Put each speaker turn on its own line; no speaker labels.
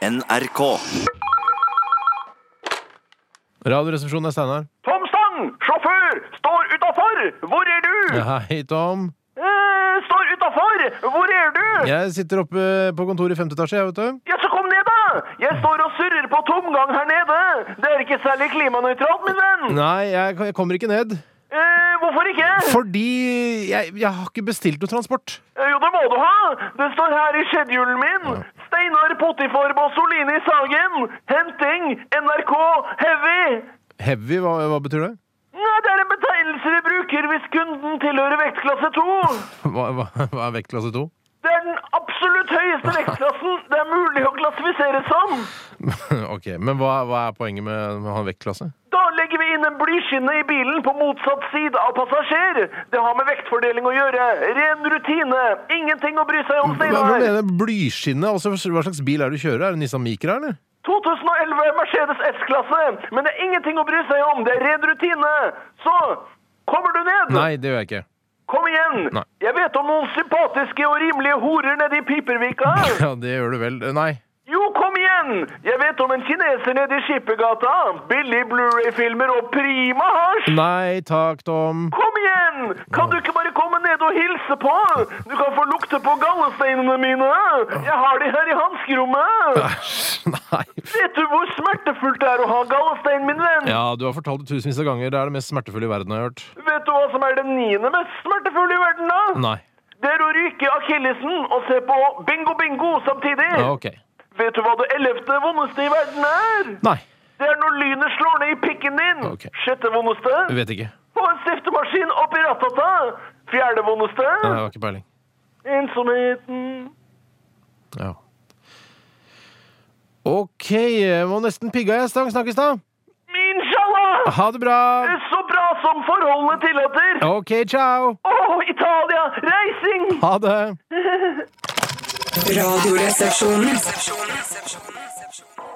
NRK.
Radioresepsjonen er Steinar.
Tom Stang, sjåfør, står utafor! Hvor er du?
Hei, Tom.
Eh, står utafor! Hvor er du? Ja.
Jeg sitter oppe på kontoret i femte etasje, jeg, vet du.
så kom ned, da! Jeg står og surrer på tomgang her nede. Det er ikke særlig klimanøytralt, min venn.
Nei, jeg, jeg kommer ikke ned.
Eh, hvorfor ikke?
Fordi jeg, jeg har ikke bestilt noe transport.
Eh, Jo, det må du ha! Det står her i schedulen min. Steinar Potifor Bassolini Sagen. Henting. NRK. Heavy.
Heavy, hva, hva betyr det?
Nei, det er en betegnelse vi bruker hvis kunden tilhører vektklasse 2.
Hva, hva, hva er vektklasse to?
Det er den absolutt høyeste vektklassen det er mulig å klassifisere som.
ok, men hva, hva er poenget med å ha en vektklasse?
Da legger vi inn en blykinne i bilen på motsatt side av passasjer. Det har med vektfordeling å gjøre. Ren rutine. Ingenting å bry seg om,
Hva, hva
Steinar.
mener du? Blyskinne? Altså, hva slags bil er det du kjører? Er det Nissan Micra, eller?
2011 Mercedes S-klasse. Men det er ingenting å bry seg om. Det er ren rutine. Så kommer du ned.
Nei, det gjør jeg ikke.
Kom igjen.
Nei.
Jeg vet om noen sympatiske og rimelige horer nede i Pipervika.
Ja, det gjør du vel. Nei.
Jo, kom igjen! Jeg vet om en kineser nede i Skippergata. Billig Blu-ray-filmer og prima hasj!
Nei takk, Tom.
Kom igjen! Kan du ikke bare komme ned og hilse på? Du kan få lukte på gallesteinene mine! Jeg har de her i hanskerommet!
Æsj, nei.
Vet du hvor smertefullt det er å ha gallestein, min venn?
Ja, du har fortalt det tusenvis av ganger. Det er det mest smertefulle i verden jeg har hørt.
Vet du hva som er det niende mest smertefulle i verden, da?
Nei.
Det er å ryke akillesen og se på bingo-bingo samtidig!
Ja, ok.
Vet du hva det ellevte vondeste i verden er?
Nei.
Det er når lynet slår ned i pikken din.
Ok.
Sjette vondeste.
Jeg vet ikke.
Og en stiftemaskin oppi rattata. Fjerde vondeste.
Nei, jeg har ikke peiling.
Ensomheten.
Ja. OK, jeg må nesten pigga jeg, Stang Snakkestad.
Inshallah!
Ha det bra.
Så bra som forholdene tillater. Å,
OK, ciao.
Italia! Reising!
Ha det.
Radioresepsjonen.